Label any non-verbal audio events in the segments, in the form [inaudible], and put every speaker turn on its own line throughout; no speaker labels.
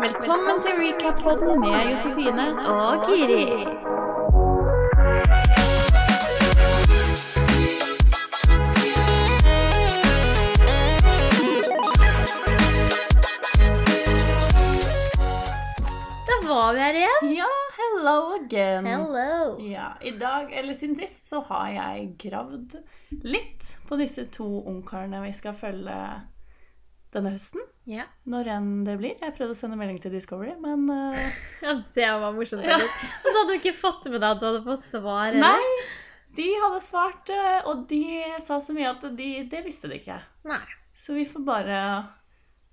Velkommen til Recap-podden med Josefine.
Og Giri. Da var vi her [laughs] igjen.
Ja, hello again.
Hello.
Ja, I dag eller siden sist så har jeg gravd litt på disse to ungkarene vi skal følge denne høsten.
Ja.
Når enn det blir. Jeg prøvde å sende melding til Discovery, men eh,
det var morsomt. [laughs] faktisk. Og så hadde du ikke fått med deg at du hadde fått svar. eller?
Nei. De hadde svart, eh, og de sa så mye at de, det visste de ikke.
Nei.
Så vi får bare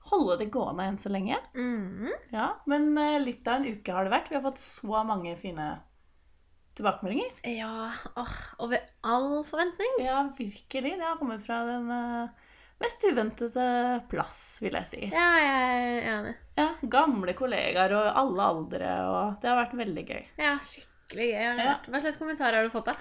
holde det gående enn så lenge.
Mhm.
Ja, Men eh, litt av en uke har det vært. Vi har fått så mange fine tilbakemeldinger.
Ja, åh, over all forventning.
Ja, virkelig. Det har kommet fra den eh, mest uventede plass, vil jeg si.
Ja, jeg er enig.
Ja, Gamle kollegaer og alle aldre, og det har vært veldig gøy.
Ja, skikkelig gøy. har det
Ja.
vært. Hva slags kommentarer har du fått, da?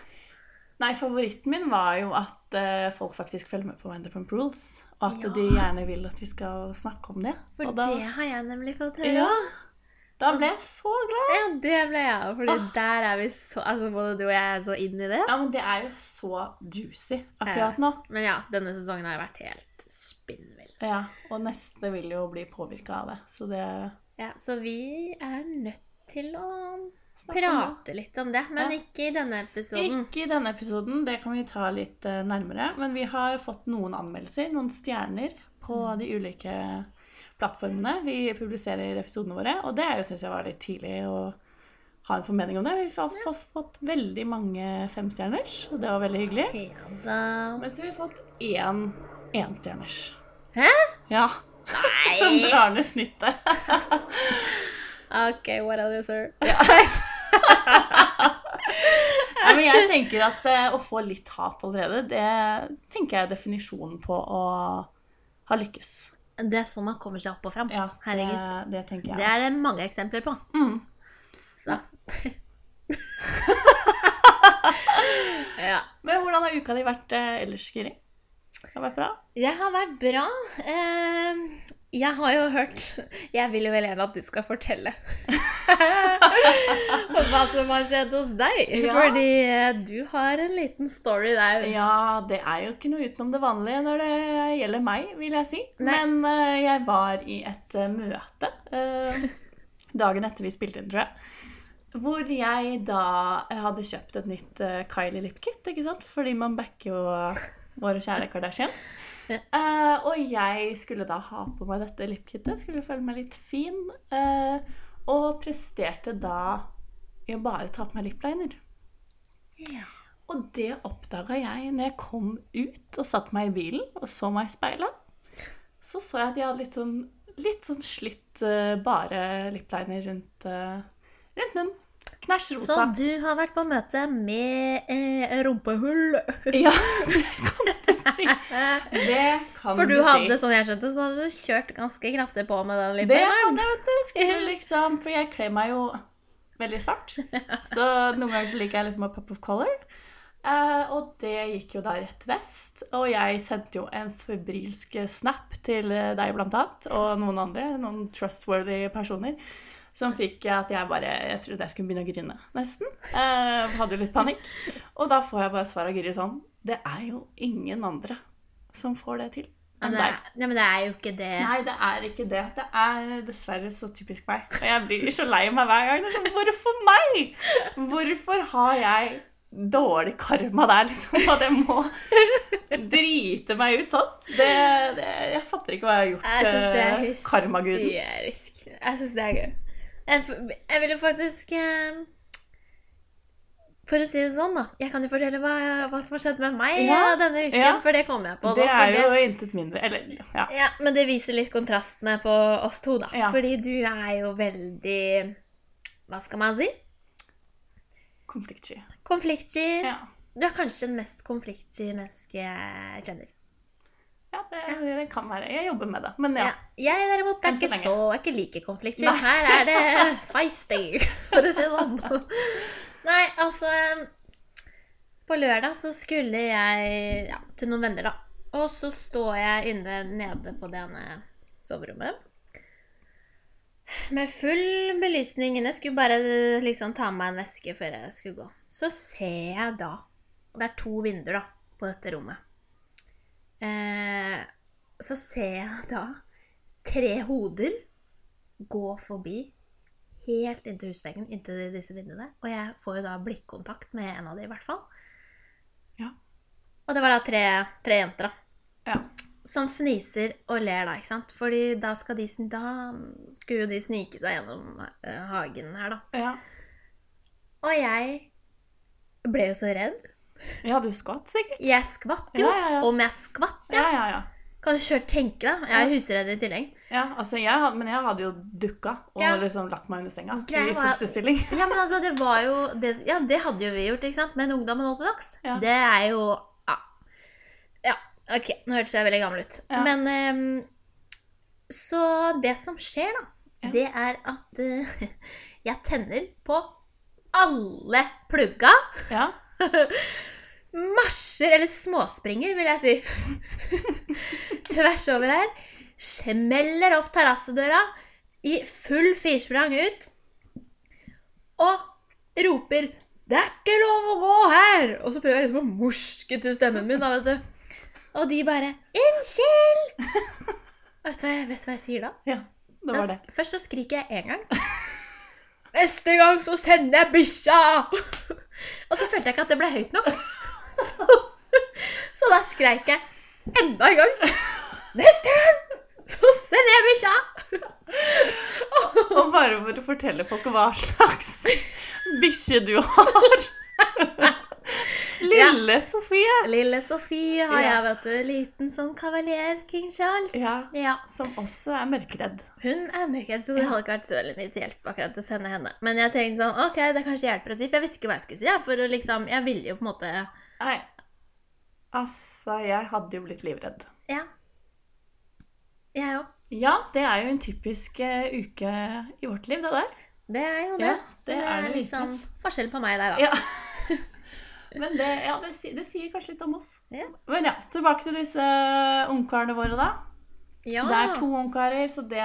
Nei, favoritten min var jo at eh, folk faktisk følger med på Wenderpump Rules, og at
Ja.
de gjerne vil at vi skal snakke om det.
For
og da,
det har jeg nemlig fått høre.
ja,
også.
da ble jeg så glad.
Ja, det ble jeg òg, Fordi
Ah.
der er vi så Altså, både du og jeg er så inn i det.
Ja, men det er jo så juicy
Jeg
akkurat
vet.
nå.
Men ja, denne sesongen har jo vært helt spinnvill.
Ja, Og neste vil jo bli påvirka av det, så det
Ja, så vi er nødt til å
snakk om det.
prate litt om det. Men
Ja.
ikke i denne episoden.
Ikke i denne episoden, det kan vi ta litt eh, nærmere. Men vi har fått noen anmeldelser, noen stjerner, på
Mm.
de ulike plattformene. Vi publiserer episodene våre, og det syns jeg var litt tidlig å ha en formening om det. Vi har fått, fått veldig mange femstjerners, og det var veldig hyggelig.
Ja da.
Men så har vi fått én enstjerners.
Hæ?
Ja. [laughs] Som drar ned snittet. [laughs]
OK, what are you, sir?
Nei, men jeg tenker at eh, å få litt hat allerede, det tenker jeg er definisjonen på å ha lykkes.
Det er sånn man kommer seg opp og fram.
Ja, det,
Herregud.
det tenker jeg.
Det er det mange eksempler på.
Mm.
Så [laughs] Ja.
Men hvordan har uka di vært eh, ellers, Kiri? Har det vært bra?
Jeg har vært bra. Eh, Jeg har jo hørt Jeg vil jo vel gjerne at du skal fortelle [laughs] om hva som har skjedd hos deg.
Ja.
Fordi eh, du har en liten story der.
Ja, det er jo ikke noe utenom det vanlige når det gjelder meg, vil jeg si.
Nei.
Men eh, jeg var i et eh, møte
[laughs]
eh, dagen etter vi spilte inn, tror jeg. Hvor jeg da hadde kjøpt et nytt eh, Kylie Lipkit, ikke sant? Fordi man backer jo våre kjære Kardashians.
[laughs] Ja.
Eh, og jeg skulle da ha på meg dette lipkitet, skulle føle meg litt fin. eh, og presterte da i å bare ta på meg lipliner.
Ja.
Og det oppdaga jeg når jeg kom ut og satte meg i bilen og så meg i speilet. Så så jeg at jeg hadde litt sånn, litt sånn slitt, eh, bare lipliner rundt, eh, rundt munnen. Knæsj rosa.
Så du har vært på møte med eh, rumpehull.
Ja, [laughs] det kan du
[laughs]
si. Det kan
For du
si.
hadde, sånn jeg skjønte, så hadde du kjørt ganske kraftig på med den
Det
lippen.
hadde jeg, vet du. Skulle liksom, for jeg kler meg jo veldig svart.
[laughs]
Så noen ganger så liker jeg liksom å pop of color. Eh, og det gikk jo da rett vest. Og jeg sendte jo en febrilsk snap til eh, deg blant annet, og noen andre, noen trustworthy personer, som fikk at jeg bare Jeg trodde jeg skulle begynne å grine, nesten. Eh, hadde jo litt panikk. Og da får jeg bare svar av Guri sånn Det er jo ingen andre som får det til
Ja,
enn
men, det
deg.
er, nei, men det er jo ikke det.
Nei, det er ikke det. Det er dessverre så typisk meg. Og jeg blir så lei meg hver gang. Det er sånn, Hvorfor meg? Hvorfor har jeg dårlig karma der, liksom? At jeg må drite meg ut sånn? Det, det, jeg fatter ikke hva jeg har gjort.
Jeg syns det er
eh, Karmaguden.
hysterisk. Jeg syns det er gøy. Jeg, f- jeg vil jo faktisk eh, For å si det sånn, da. Jeg kan jo fortelle hva, hva som har skjedd med meg
Ja,
eh, denne uken,
ja.
for det kom jeg på. nå,
Det er
for
jo intet mindre. Eller, ja.
det, ja, men det viser litt kontrastene på oss to, da.
Ja.
Fordi du er jo veldig Hva skal man si?
Konfliktsky.
Konfliktsky.
Ja.
Du er kanskje den mest konfliktsky menneske jeg kjenner.
ja, det, det kan være. Jeg jobber med det. Men ja.
Ja. Jeg derimot er
Enn så
ikke
lenge.
så, er ikke like konfliktsky.
Nei.
Her er det feisting, [laughs] for å si det sånn. Nei, altså På lørdag så skulle jeg ja, til noen venner, da. Og så står jeg inne nede på det ene soverommet. Med full belysning inne. Skulle bare liksom ta med meg en veske før jeg skulle gå. Så ser jeg da Og det er to vinduer da, på dette rommet. Eh, så ser jeg da tre hoder gå forbi helt inntil husveggen, inntil disse vinduene. Og jeg får jo da blikkontakt med en av de i hvert fall.
Ja.
Og det var da tre, tre jenter, da
Ja.
som fniser og ler, da, ikke sant? Fordi da, skal de, sn- da skulle jo de snike seg gjennom eh, hagen her, da.
Ja,
Og jeg ble jo så redd.
ja du skvatt sikkert.
Jeg skvatt jo.
Ja, ja, ja.
Om jeg skvatt, ja.
Ja, ja, ja.
Kan du selv tenke deg? Jeg er husredd i tillegg.
ja altså jeg, had- men jeg hadde jo dukka og
Ja.
liksom lagt meg under senga
Greia
i
var-
[laughs] fosterstilling.
[laughs] Ja, men altså, det var jo det, Ja, det hadde jo vi gjort, ikke sant? Men ungdommen nå til dags,
Ja.
det er jo ja. ja. Ok, nå hørtes jeg veldig gammel ut.
Ja.
Men ehm, Så det som skjer, da,
Ja.
det er at eh, [laughs] jeg tenner på alle plugga.
Ja.
Marsjer, eller småspringer, vil jeg si. [laughs] Tvers over her. Smeller opp terrassedøra i full firsprang ut. Og roper 'Det er ikke lov å gå her!' Og så prøver jeg liksom å morske til stemmen min, da, vet du. Og de bare 'Unnskyld!' Og vet du hva jeg, vet du hva jeg sier da?
ja. Det
Da
var det.
sk- Først så skriker jeg én gang. [laughs] Neste gang så sender jeg bikkja! og så følte jeg ikke at det ble høyt nok. Så, så da skreik jeg enda en gang. Neste gang så sender jeg bikkja!
Og bare for å fortelle folk hva slags [laughs] bikkje du [laughs] har. Lille Sofie,
Lille Sofie har
Ja.
jeg, vet du. Liten sånn kavaler King Charles.
Ja. som også er mørkredd.
Hun er mørkredd, så det hadde ikke vært så veldig mye til hjelp akkurat til å sende henne. Men jeg tenkte sånn, ok, det kanskje hjelper å si, for jeg visste ikke hva jeg skulle si. ja, For å liksom, jeg ville jo på en måte
Nei, altså, jeg hadde jo blitt livredd.
Ja. Jeg òg.
Ja, det er jo en typisk eh, uke i vårt liv, det der.
Det er jo det.
Ja,
Så
det
det
er
er litt
det virkelig.
sånn forskjell på meg og deg, da.
Ja. [laughs] Men det, ja, det, si- det sier kanskje litt om oss.
Ja.
Men ja, tilbake til disse ungkarene våre, da.
Ja.
Det er to ungkarer, så det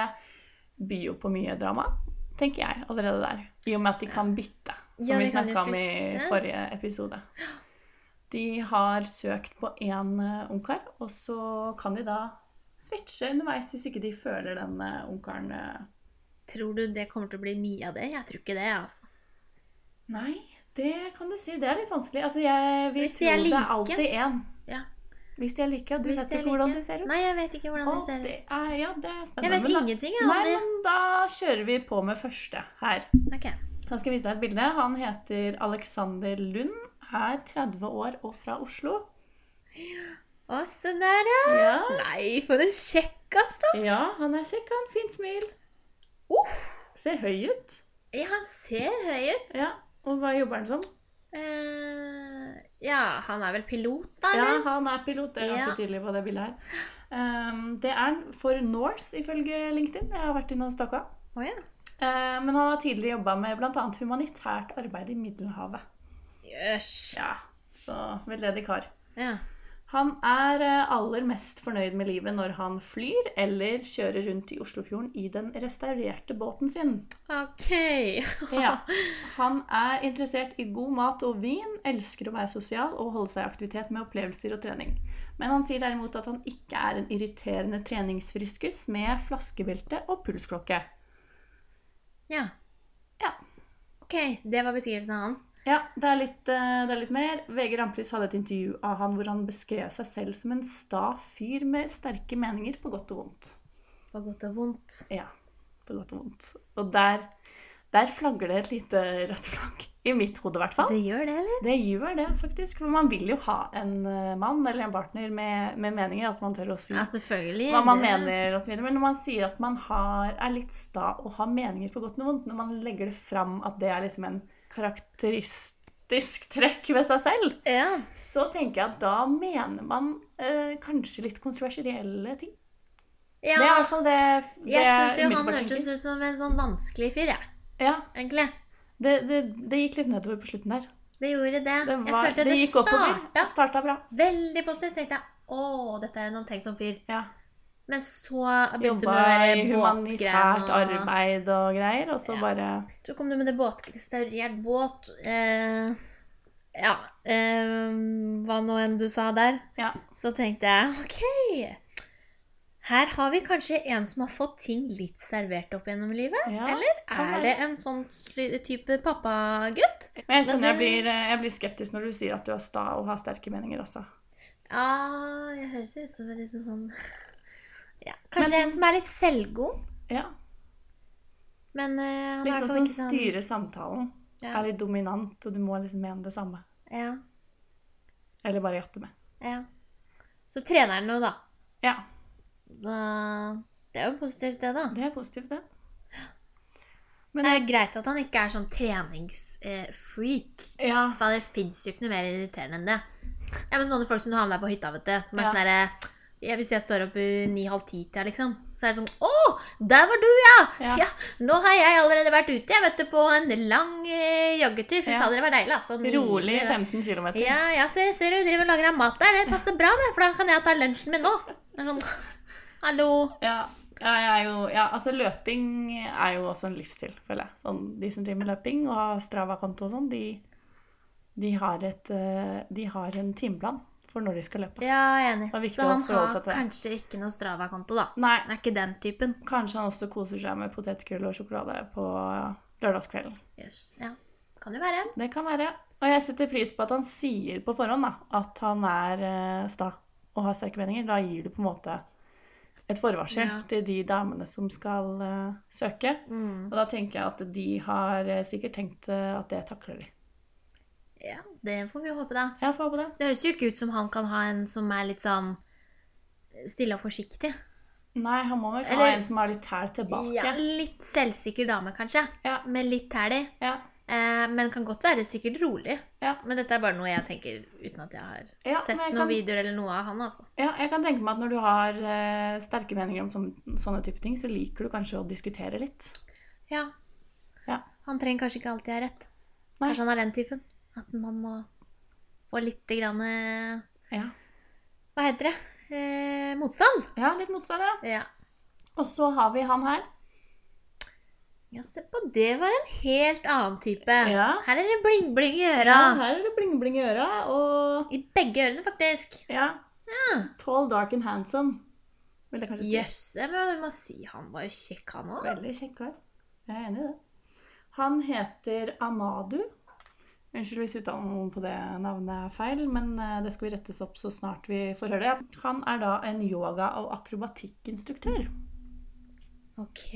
byr jo på mye drama, tenker jeg, allerede der. I og med at de kan bytte, som
Ja, de kan
vi
jo
snakka om i
skifte.
forrige episode. De har søkt på én eh, ungkar, og så kan de da switche underveis hvis ikke de føler den eh, ungkaren eh,
Tror du det kommer til å bli mye av det? Jeg tror ikke det. altså.
Nei, det kan du si. Det er litt vanskelig. Altså, jeg, vi
Hvis de
tror
er
det
like.
er alltid én.
Ja.
Hvis de er like, og du
Hvis
vet
de er
ikke hvordan
like.
de ser ut.
Nei, jeg vet ikke hvordan de
Å,
ser
det
ut.
er, ja, det er
Jeg
spennende.
vet
men da-
ingenting jeg,
Nei,
om
men da kjører vi på med første her.
de. Ok.
Han skal vise deg et bilde. Han heter Alexander Lund, er 30 år og fra Oslo.
Å, se der, ja.
Ja,
Nei, for en kjekkas, da.
ja han er kjekk og en fint smil. Ser høy ut.
Ja, han ser høy ut.
Ja, Og hva jobber han som?
Eh, ja, han er vel pilot, da?
Ja,
eller?
han er pilot. Det er
Ja.
ganske tydelig på det bildet her. Ehm, det er han for Norse, ifølge LinkedIn. Jeg har vært inne og stalka.
Å, ja.
Eh, men han har tidligere jobba med bl.a. humanitært arbeid i Middelhavet.
Jøss.
Ja, Så veldedig kar.
Ja.
Han er eh, aller mest fornøyd med livet når han flyr eller kjører rundt i Oslofjorden i den restaurerte båten sin.
Ok. [laughs]
Ja. [laughs] Han er interessert i god mat og vin, elsker å være sosial og holde seg i aktivitet med opplevelser og trening. Men han sier derimot at han ikke er en irriterende treningsfriskus med flaskebelte og pulsklokke.
Ja.
Ja.
Ok, det var beskrivelsen av han.
Ja, det er litt, eh, det er litt mer. VG Ramplys hadde et intervju av han hvor han beskrev seg selv som en sta fyr med sterke meninger på godt og vondt.
På godt og vondt.
Ja, på godt og vondt. Og der, der flagger det et lite rødt flagg. I mitt hode, i hvert fall.
Det gjør det, eller?
Det gjør det, faktisk. For man vil jo ha en eh, mann eller en partner med, med meninger. At man tør å si
Ja, selvfølgelig.
hva man
Det-
mener osv. Men når man sier at man har, er litt sta og har meninger på godt og vondt, når man legger det fram at det er liksom en karakteristisk trekk ved seg selv,
Ja.
så tenker jeg at da mener man eh, kanskje litt kontroversielle ting. Det er i
ja.
hvert fall det, det
Jeg syns jo han
umiddelbart
hørtes ut som en sånn vanskelig fyr, jeg.
Ja,
Egentlig.
det, det, det gikk litt nedover på slutten der.
Det gjorde det.
Det,
Ah, jeg
var,
følte
det,
det,
gikk oppover.
starta
Det starta bra.
veldig positivt. Tenkte jeg å, dette er en omtenksom fyr.
Ja.
Men så begynte du
Jobba
med det
i
der
humanitært
båtgreiene, og-
arbeid og greier, og så
Ja.
bare
Så kom du med det båtrestaurert båt eh, Ja. Eh, hva nå enn du sa der.
Ja.
Så tenkte jeg OK. Her har vi kanskje en som har fått ting litt servert opp gjennom livet.
ja.
Eller
kan
er
være.
det en sånn sli- type pappagutt?
Men jeg kjenner jeg
Men det-
blir, eh, jeg blir skeptisk når du sier at du er sta og har sterke meninger, altså.
Ja, Ah, jeg høres ut som en liksom sånn [laughs] ja, Kanskje en som er litt selvgod,
Ja.
men eh, han er i
Litt
hvert
sånn
fall
som
ikke sånn
styrer samtalen.
Ja.
Er litt dominant, og du må liksom mene det samme.
Ja,
Eller bare jatte med.
ja. Så trener han jo, da.
Ja,
da. Det er jo positivt, det, da.
det er positivt, det.
Men det er greit at han ikke er sånn treningsfreak.
Ja,
Faen, det fins jo ikke noe mer irriterende enn det. Ja, men sånne folk som du har med deg på hytta, vet du. Som er
Ja.
sånn derre ja, Hvis jeg står opp i ni-halv ti-tida, liksom, så er det sånn Å, der var du, ja! ja!
Ja.
Nå har jeg allerede vært ute, jeg, vet du, på en lang eh, joggetur. Fy
Ja.
fader, det var deilig, altså. Nydelig.
rolig 15 km.
Ja, ja, ser, ser du, driver og lager deg mat der. Det passer bra, det, for da kan jeg ta lunsjen min nå. Det er sånn Hallo.
Ja. Ja, jeg er jo, ja, altså løping er jo også en livsstil, føler jeg. Sånn, de som driver med løping og har Strava-konto og sånn, de, de, har et, eh, de har en timeplan for når de skal løpe.
Ja, jeg er enig.
Det er viktig
Så
å
han
forholde
har
seg til det.
kanskje ikke noe Strava-konto, da.
Nei,
Han er ikke den typen.
kanskje han også koser seg med potetgull og sjokolade på lørdagskvelden.
Yes. Ja. Kan jo være.
Det kan være. Og jeg setter pris på at han sier på forhånd da, at han er eh, sta og har sterke meninger. Da gir du på en måte et forvarsel
Ja.
til de damene som skal eh, søke.
Mm.
Og da tenker jeg at de har eh, sikkert tenkt eh, at det takler de.
Ja, det får vi håpe, da.
Jeg får håpe det.
Det høres jo ikke ut som han kan ha en som er litt sånn eh, stille og forsiktig.
Nei, han må vel ha
Eller-
en som har litt tæl tilbake.
Ja, litt selvsikker dame, kanskje.
Ja.
Med litt tæl i.
Ja,
Eh, men kan godt være sikkert rolig.
ja.
Men dette er bare noe jeg tenker uten at jeg har
Ja,
sett
men jeg
noen
kan-
videoer eller noe av han, altså.
Ja, jeg kan tenke meg at når du har eh, sterke meninger om sånne, sånne type ting, så liker du kanskje å diskutere litt.
Ja.
Ja.
Han trenger kanskje ikke alltid ha rett.
Nei.
Kanskje han er den typen. At man må få litt grann eh,
Ja,
Hva heter det? Eh, motstand.
ja litt motstand, ja.
Ja.
Og så har vi han her.
Ja, se på det var en helt annen type.
Ja.
Her er det bling-bling i øra.
Ja, her er det bling-bling i øra, og
I begge ørene, faktisk.
ja.
Ah.
Tall, dark and handsome. Vil jeg kanskje si.
Jøsse, men vi må si han var jo kjekk, han òg.
Veldig kjekk kar. Jeg er enig i det. Han heter Amadu. Unnskyld hvis uttalen på det navnet er feil, men eh, det skal vi rettes opp så snart vi får høre det. Han er da en yoga- og akrobatikkinstruktør.
Ok.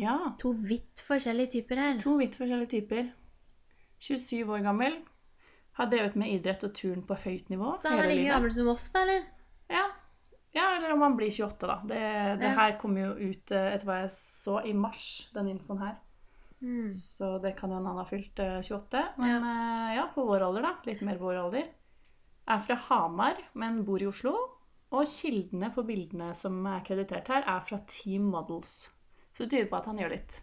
Ja.
To vidt forskjellige typer her.
To vidt forskjellige typer. 27 år gammel. Har drevet med idrett og turn på høyt nivå
Så han er like gammel som oss, da, eller?
Ja. ja, eller om han blir 28, da. Det, det
Ja.
her kommer jo ut eh, etter hva jeg så i mars, den infoen her.
Mm.
Så det kan jo hende han har fylt eh, 28. Men eh, ja, på vår alder, da. Litt mer vår alder. Er fra Hamar, men bor i Oslo. Og kildene på bildene som er kreditert her, er fra Team Models. Så det tyder på at han gjør litt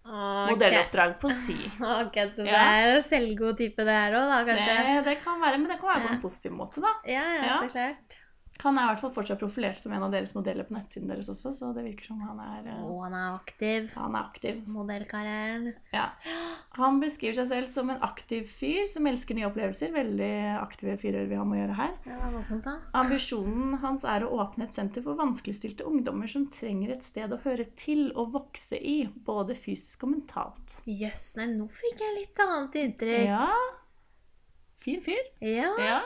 Ok.
modelloppdrag på si.
[laughs] Ok, Så det
Ja.
er jo selvgod type, det her òg, da, kanskje?
Det, det kan være, men det kan være på
Ja.
en positiv måte, da.
Ja, ja,
Ja.
så klart.
Han er i hvert fall fortsatt profilert som en av deres modeller på nettsiden deres også, så det virker som han er eh,
Og han er aktiv.
Han er aktiv.
Modellkarrieren.
Ja. Han beskriver seg selv som en aktiv fyr som elsker nye opplevelser. Veldig aktive fyrer vi har med å gjøre her.
Det var noe sånt, da.
Ambisjonen hans er å åpne et senter for vanskeligstilte ungdommer som trenger et sted å høre til og vokse i, både fysisk og mentalt.
Jøss, nei, nå fikk jeg litt annet inntrykk.
Ja. Fin fyr.
Ja.
Ja.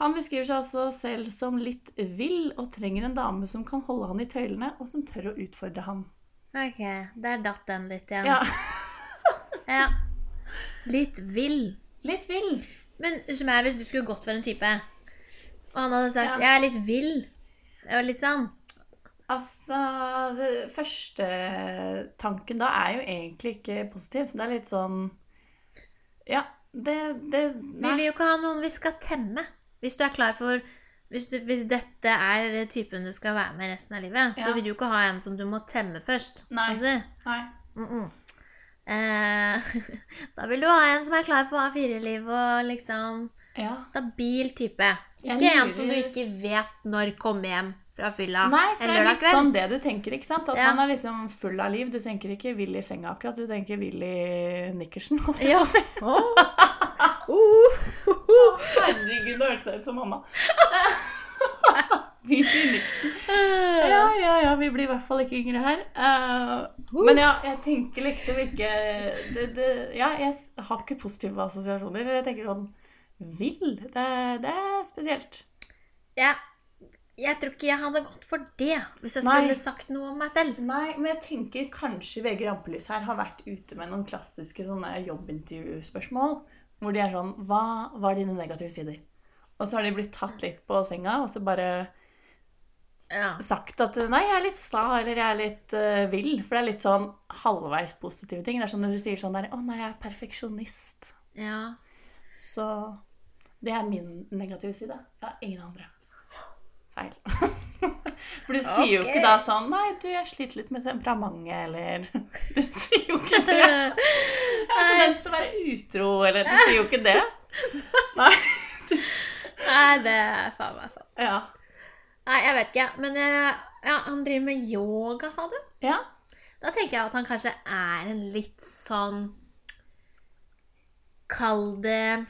Han beskriver seg også selv som litt vill og trenger en dame som kan holde han i tøylene, og som tør å utfordre han.
Ok, der datt den litt igjen.
Ja.
ja. Litt vill.
Litt vill.
Men som er hvis du skulle gått for en type, og han hadde sagt
Ja.
'jeg er litt vill', det var litt sånn
Altså, det første tanken da er jo egentlig ikke positiv. Det er litt sånn Ja, det, det
Vi
Nei.
vil jo ikke ha noen vi skal temme. Hvis du er klar for hvis, du, hvis dette er typen du skal være med resten av livet, så
Ja.
vil du jo ikke ha en som du må temme først.
Nei.
kan du si.
nei.
Mm -mm. Eh, [laughs] da vil du ha en som er klar for A4-liv og liksom
Ja.
stabil type.
Jeg
Ikke en som du
lurer-
ikke vet når kommer hjem fra fylla
Nei, for
en
det er
lørdag
litt
kveld.
sånn det du tenker, ikke sant? At
Ja.
han er liksom full av liv. Du tenker ikke Willy i senga akkurat, du tenker Willy Nikkersen. [laughs] holdt jeg
Ja.
på å si.
Åh.
Oh.
Uh.
Herregud, det hørtes ut som
[laughs]
mamma. Willy Nikkersen.
Eh,
Ja, ja, ja, vi blir i hvert fall ikke yngre her. Eh,
Uh.
Men ja, jeg tenker liksom ikke det, det, Ja, jeg s- har ikke positive assosiasjoner. Jeg tenker sånn Vill. Det, det er spesielt.
Jeg, jeg tror ikke jeg hadde gått for det hvis jeg
Nei.
skulle sagt noe om meg selv.
Nei, men jeg tenker kanskje VG Rampelys her har vært ute med noen klassiske sånne jobbintervjuspørsmål. Hvor de er sånn Hva var dine negative sider? Og så har de blitt tatt litt på senga, og så bare
Ja.
sagt at nei, jeg er litt sta, eller jeg er litt eh, vill. For det er litt sånn halvveis positive ting. Det er sånn når du sier sånn der Å nei, jeg er perfeksjonist.
ja.
Så det er min negative side. Ja, ingen andre. Feil. [laughs] For du sier jo
Ok.
ikke da sånn Nei, du, jeg sliter litt med temperamentet, eller [laughs] Du sier jo ikke det. Jeg
[laughs] Nei,
har tendens til å være utro, eller Du sier jo ikke det. Nei.
det er faen meg sant.
Ja.
Nei, jeg vet ikke. Men eh, ja, han driver med yoga, sa du?
Ja.
Da tenker jeg at han kanskje er en litt sånn Kall det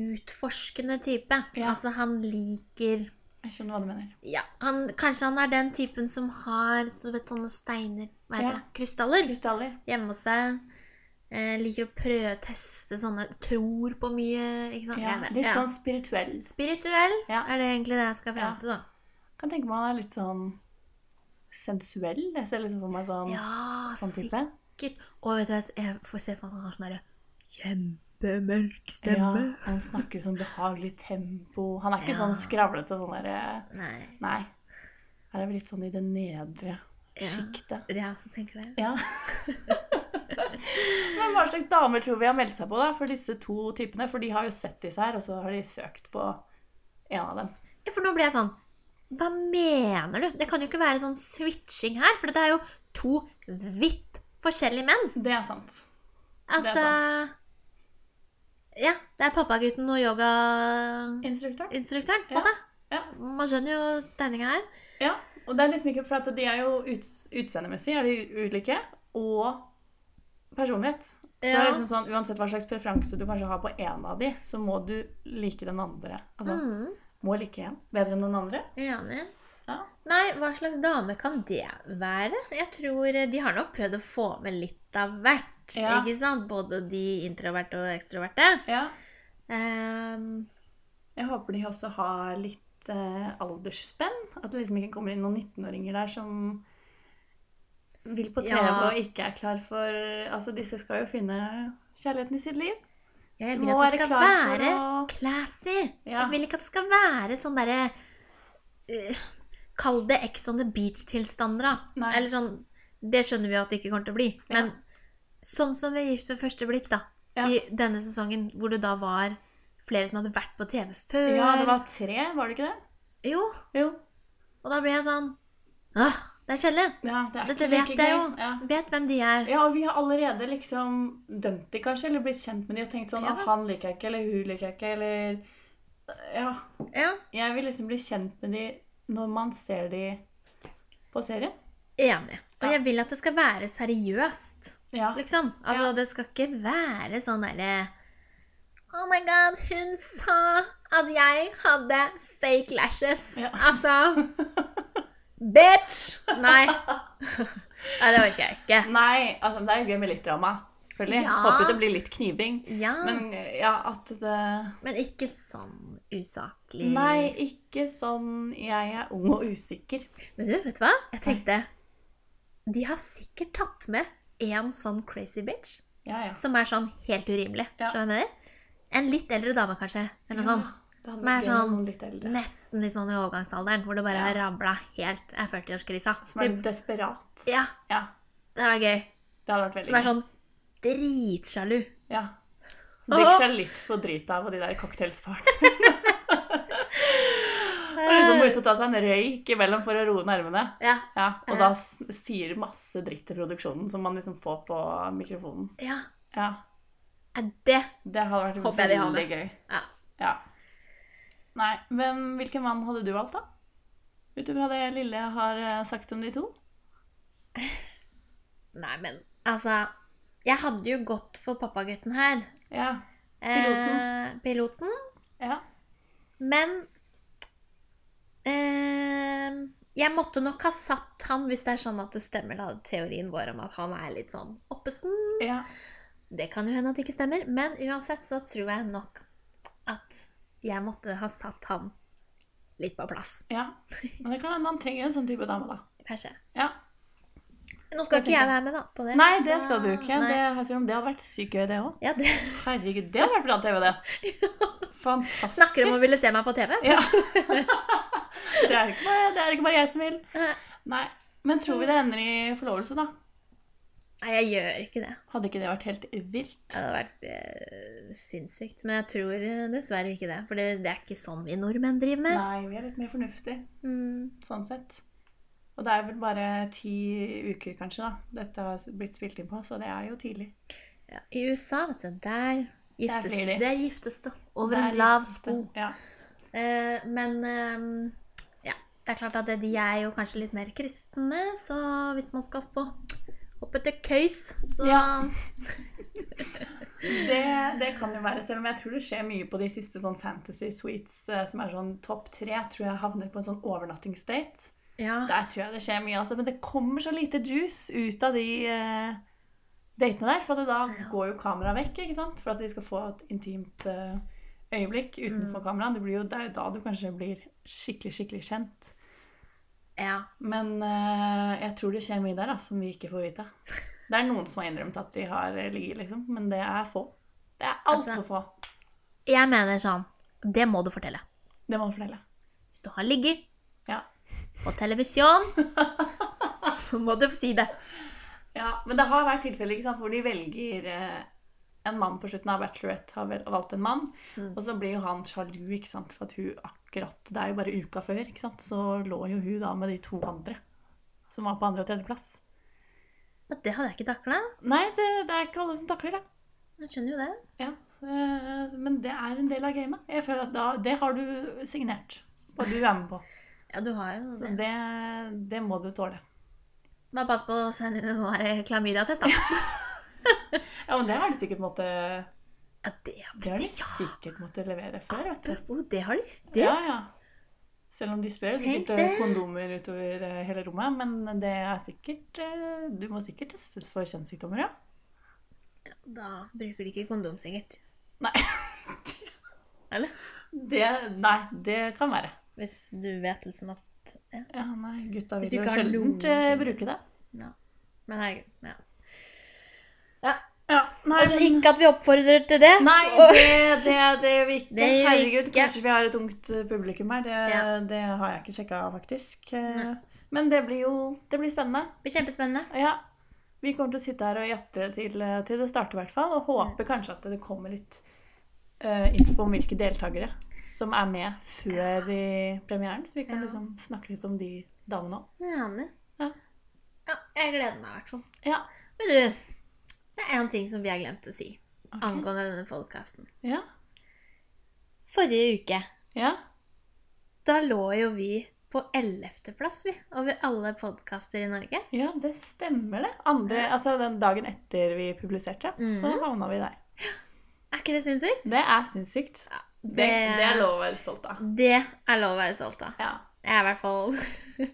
utforskende type.
Ja.
Altså, han liker
Jeg skjønner hva du mener.
Ja, han, kanskje han er den typen som har så du vet, sånne steiner Hva heter
Ja.
det? Krystaller
Krystaller.
hjemme hos seg. Eh, liker å prøve å teste sånne Tror på mye, ikke sant?
Ja,
Jeg vet-
litt
ja.
sånn spirituell.
Spirituell
Ja.
er det egentlig det jeg skal
Ja.
fram til, da.
Kan tenke meg han er litt sånn sensuell. Jeg ser liksom for meg sånn,
Ja,
sånn
sikkert.
type.
Og vet du hva, jeg får se for meg at han har sånn derre kjempemørk
Ja,
stemme.
han snakker sånn behagelig tempo. Han er ikke
Ja.
sånn skravlete sånn derre
Nei.
Nei. Her er vi litt sånn i det nedre
Ja.
sjiktet.
Jeg også tenker det.
Ja. [laughs] Men hva slags damer tror vi har meldt seg på da, for disse to typene? For de har jo sett disse her, og så har de søkt på en av dem.
Ja, for nå ble jeg sånn Hva mener du? Det kan jo ikke være sånn switching her, for det er jo to vidt forskjellige menn.
Det er sant.
Altså
sant.
Ja, det er pappagutten og yogainstruktøren,
Instruktør?
på en måte.
Ja.
Man skjønner jo tegninga her.
Ja. Og det er liksom ikke For at de er jo uts utseendemessig er de ulike, og personlighet. Så det
Ja.
er liksom sånn, Uansett hva slags preferanse du kanskje har på én av de, så må du like den andre. Altså,
Mm,
Må like en bedre enn den andre.
enig.
Ja.
Nei, hva slags dame kan det være? Jeg tror eh, De har nok prøvd å få med litt av hvert.
Ja.
Ikke sant? Både de introverte og ekstroverte.
ja.
Ehm,
Jeg håper de også har litt eh, aldersspenn. At det liksom ikke kommer inn noen 19-åringer der som vil på TV
Ja.
og ikke er klar for Altså, disse skal jo finne kjærligheten i sitt liv.
jeg vil
Må
at
være
det skal
klar for
være
å-
classy.
Ja.
Jeg vil ikke at det skal være sånn derre eh, Kall det Ex on the Beach-tilstander, da.
Nei.
Eller sånn Det skjønner vi jo at det ikke kommer til å bli.
Ja.
Men sånn som ved Gift ved første blikk, da.
Ja.
I denne sesongen hvor det da var flere som hadde vært på TV før.
Ja, det var tre, var det ikke det?
Jo,
Jo.
og da ble jeg sånn Åh, det er kjedelig.
Ja, det er
Dette
ikke
vet jeg
like gøy.
jo.
Ja.
Vet hvem de er.
Ja, og vi har allerede liksom dømt de kanskje, eller blitt kjent med de og tenkt sånn
Ja.
«Å, han liker jeg ikke, eller hun liker jeg ikke, eller Ja.
Ja.
Jeg vil liksom bli kjent med de når man ser de på serien.
Enig. Og
Ja.
jeg vil at det skal være seriøst.
Ja.
Liksom. Altså,
Ja.
Det skal ikke være sånn derre Oh my god, hun sa at jeg hadde fake lashes.
Ja.
Altså
[laughs]
Bitch! Nei. Nei, det orker jeg ikke.
Nei, altså det er jo gøy med litt drama, selvfølgelig.
Ja.
Håper det blir litt kniving.
Ja, men,
Men ja, at det
ikke sånn usaklig.
Nei, ikke sånn jeg er ung og usikker.
Men du, vet du hva? Jeg tenkte De har sikkert tatt med én sånn crazy bitch
Ja, ja.
som er sånn helt urimelig.
Ja.
Skjønner du hva jeg mener? En litt eldre dame, kanskje. Eller noe sånt.
det
sånn? Som er
hadde vært gøy med
sånn-
noen litt eldre.
Nesten litt sånn i overgangsalderen, hvor det bare
Ja.
har rabla helt er 40-årskrisa.
Som er
Typ.
desperat.
Ja,
Ja,
det var gøy.
det hadde vært veldig
Som er sånn dritsjalu.
gøy. Ja. Som drikker seg litt for drit av på de der cocktailspartene. [laughs] Og liksom må ut og ta seg en røyk imellom for å roe nervene.
Ja,
Ja, og
Ja.
da s- sier masse dritt til produksjonen som man liksom får på mikrofonen.
ja.
Ja,
Er det
Det hadde vært
Håper jeg de har
veldig gøy.
Ja.
Ja. Nei, men hvilken mann hadde du valgt, da? Ut ifra det lille jeg har eh, sagt om de to.
Nei, men altså Jeg hadde jo gått for pappagutten her.
Ja.
Eh, piloten.
ja.
Men eh, jeg måtte nok ha satt han, hvis det er sånn at det stemmer, da, teorien vår om at han er litt sånn oppesen.
ja.
Det kan jo hende at det ikke stemmer, men uansett så tror jeg nok at jeg måtte ha satt han litt på plass,
ja. Men det kan hende han trenger en sånn type dame, da.
kanskje.
Ja.
Nå skal ikke jeg være med da, på det.
Nei,
så-
det skal du ikke.
Nei.
Det, jeg sier om det hadde vært sykt gøy, det òg.
Ja, det
Herregud, det hadde vært bra TV, det.
[laughs]
Fantastisk.
snakker om å ville se meg på TV.
[laughs] Ja. det, er ikke bare, det er ikke bare jeg som vil.
Nei,
Nei. Men tror vi det ender i forlovelse, da?
jeg gjør ikke det.
Hadde ikke det vært helt vilt?
Det hadde vært eh, sinnssykt. Men jeg tror eh, dessverre ikke det. For det, det er ikke sånn vi nordmenn driver med.
Nei, vi er litt mer fornuftige
Mm,
sånn sett. Og det er vel bare ti uker, kanskje, da. Dette har blitt spilt inn på, så det er jo tidlig.
ja. I USA, vet du, der giftes
frir de.
Der giftes det. Over
Det er
en lav
litt-
sko.
Ja.
Eh, men ehm, ja, det er klart at de er jo kanskje litt mer kristne, så hvis man skal få hoppe til køys, så
Ja. Det, det kan jo være, selv om jeg tror det skjer mye på de siste sånn fantasy suites, eh, som er sånn topp tre, tror jeg havner på en sånn overnattingsdate.
Ja.
Der tror jeg det skjer mye, altså. Men det kommer så lite juice ut av de eh, datene der. For at da
Ja.
går jo kameraet vekk, ikke sant? For at de skal få et intimt eh, øyeblikk utenfor
Mm.
kameraet. Det, blir jo, det er jo da du kanskje blir skikkelig, skikkelig kjent.
ja.
Men eh, jeg tror det skjer mye der da, som vi ikke får vite. Det er noen som har innrømt at de har eh, ligget, liksom. Men det er få. Det er altfor
Altså-
få.
Jeg mener sånn Det må du fortelle.
Det må man fortelle.
Hvis du har ligget
Ja.
på
[laughs]
televisjon, så må du få si det.
ja. Men det har vært tilfeller ikke sant, hvor de velger eh, en mann på slutten av Bachelorette har vel valgt en mann, og så blir jo han sjalu, ikke sant, for at hun akkurat Det er jo bare uka før, ikke sant, så lå jo hun da med de to andre som var på andre- og tredjeplass.
Men det hadde jeg ikke takla.
Nei, det, det er ikke alle som takler det.
Jeg skjønner jo det.
Ja, eh, men det er en del av gamet. Jeg føler at da, Det har du signert. Og du er med på.
Ja, du har jo
Så
det.
det, det må du tåle.
Bare pass på å sende inn en sånn her klamydia-test, da.
Ja, men det har du sikkert måttet,
Ja, det,
det har
det,
du sikkert måttet levere før. vet du.
Apropos, det har de. Det
Ja, ja. Selv om de sprer
Tenk
sikkert eh,
det.
kondomer utover eh, hele rommet. Men det er sikkert eh, Du må sikkert testes for kjønnssykdommer, ja.
Da bruker de ikke kondom, sikkert.
Nei.
Eller?
Det, nei, det kan være.
Hvis du vet liksom at ja.
Ja, nei, gutta
Hvis
vil
du
jo
ikke har
sjelden
lungekreft.
bruke det.
ja. Men herregud. Ja.
Ja, nei,
Altså, ikke at vi oppfordrer til det.
Nei,
[laughs] Og-
det, det, det gjør vi ikke.
Det gjør vi
Herregud,
ikke.
kanskje vi har et ungt eh, publikum her. Det,
Ja.
det har jeg ikke sjekka, faktisk. Eh, Men det blir jo det blir spennende.
Det blir kjempespennende.
Ja. Vi kommer til å sitte her og jatre til, eh, til det starter, i hvert fall. Og
Mm.
håper kanskje at det kommer litt eh, info om hvilke deltakere som er med før i premieren. Så vi kan
Ja.
liksom snakke litt om de damene òg.
Jeg er enig.
Ja.
Ja, jeg gleder meg i hvert fall.
Ja.
Men du, det er én ting som vi har glemt å si angående denne podkasten.
Ja.
Forrige uke,
ja.
da lå jo vi på 11.-plass, vi, over alle podkaster i Norge.
Ja, det stemmer det. Andre, altså Den dagen etter vi publiserte,
Mm.
så havna vi der.
Er ikke det sinnssykt?
Det er sinnssykt. Det, det er lov å være stolt av.
Det er lov å være stolt av.
Ja,
Jeg er i hvert fall [laughs]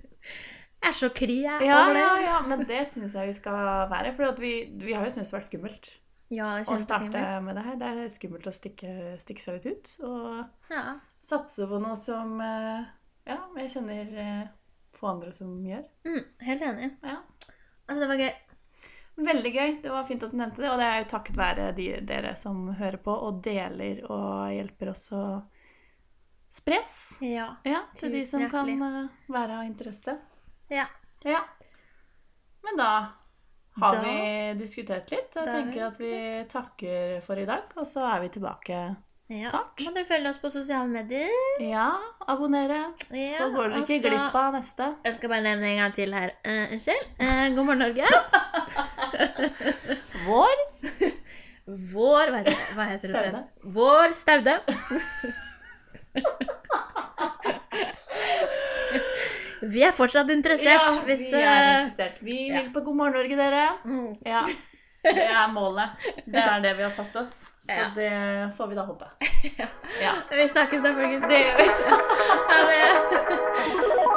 Jeg er så kry jeg
ja,
over det.
ja, men det syns jeg vi skal være. For at vi, vi har jo syntes det har vært skummelt
Ja, det
å
kjennes
starte
skummelt.
med det her. Det er skummelt å stikke, stikke seg litt ut. Og
Ja.
satse på noe som eh, ja, jeg kjenner eh, få andre som gjør.
Mm, helt enig.
Ja.
Altså, det var gøy.
Veldig gøy. Det var fint at du nevnte det. Og det er jo takket være de, dere som hører på og deler og hjelper oss å spres.
Ja.
Ja, til de
Tusen
som kan
hjertelig.
eh, være av interesse.
ja.
Ja. Men da har
Da-
vi diskutert litt. Jeg
Da har vi
tenker at vi takker for i dag, og så er vi tilbake.
ja.
Snart.
Må dere følge oss på sosiale medier.
Ja, abonnere.
Ja,
så går dere ikke
altså-
glipp av neste.
Jeg skal bare nevne en gang til her. Eh, Unnskyld. Eh, God morgen, Norge.
Vår.
Vår Hva heter det? Hva heter det?
Staude.
Vår Staude. Vi er fortsatt interessert.
Ja,
hvis,
vi er
eh,
interessert. Vi
ja.
vil på God morgen Norge, dere.
mm,
Ja. Det er målet. Det er det vi har satt oss. Så
Ja.
det får vi da håpe. Ja.
vi snakkes da, folkens.
Det gjør vi.
Ha det.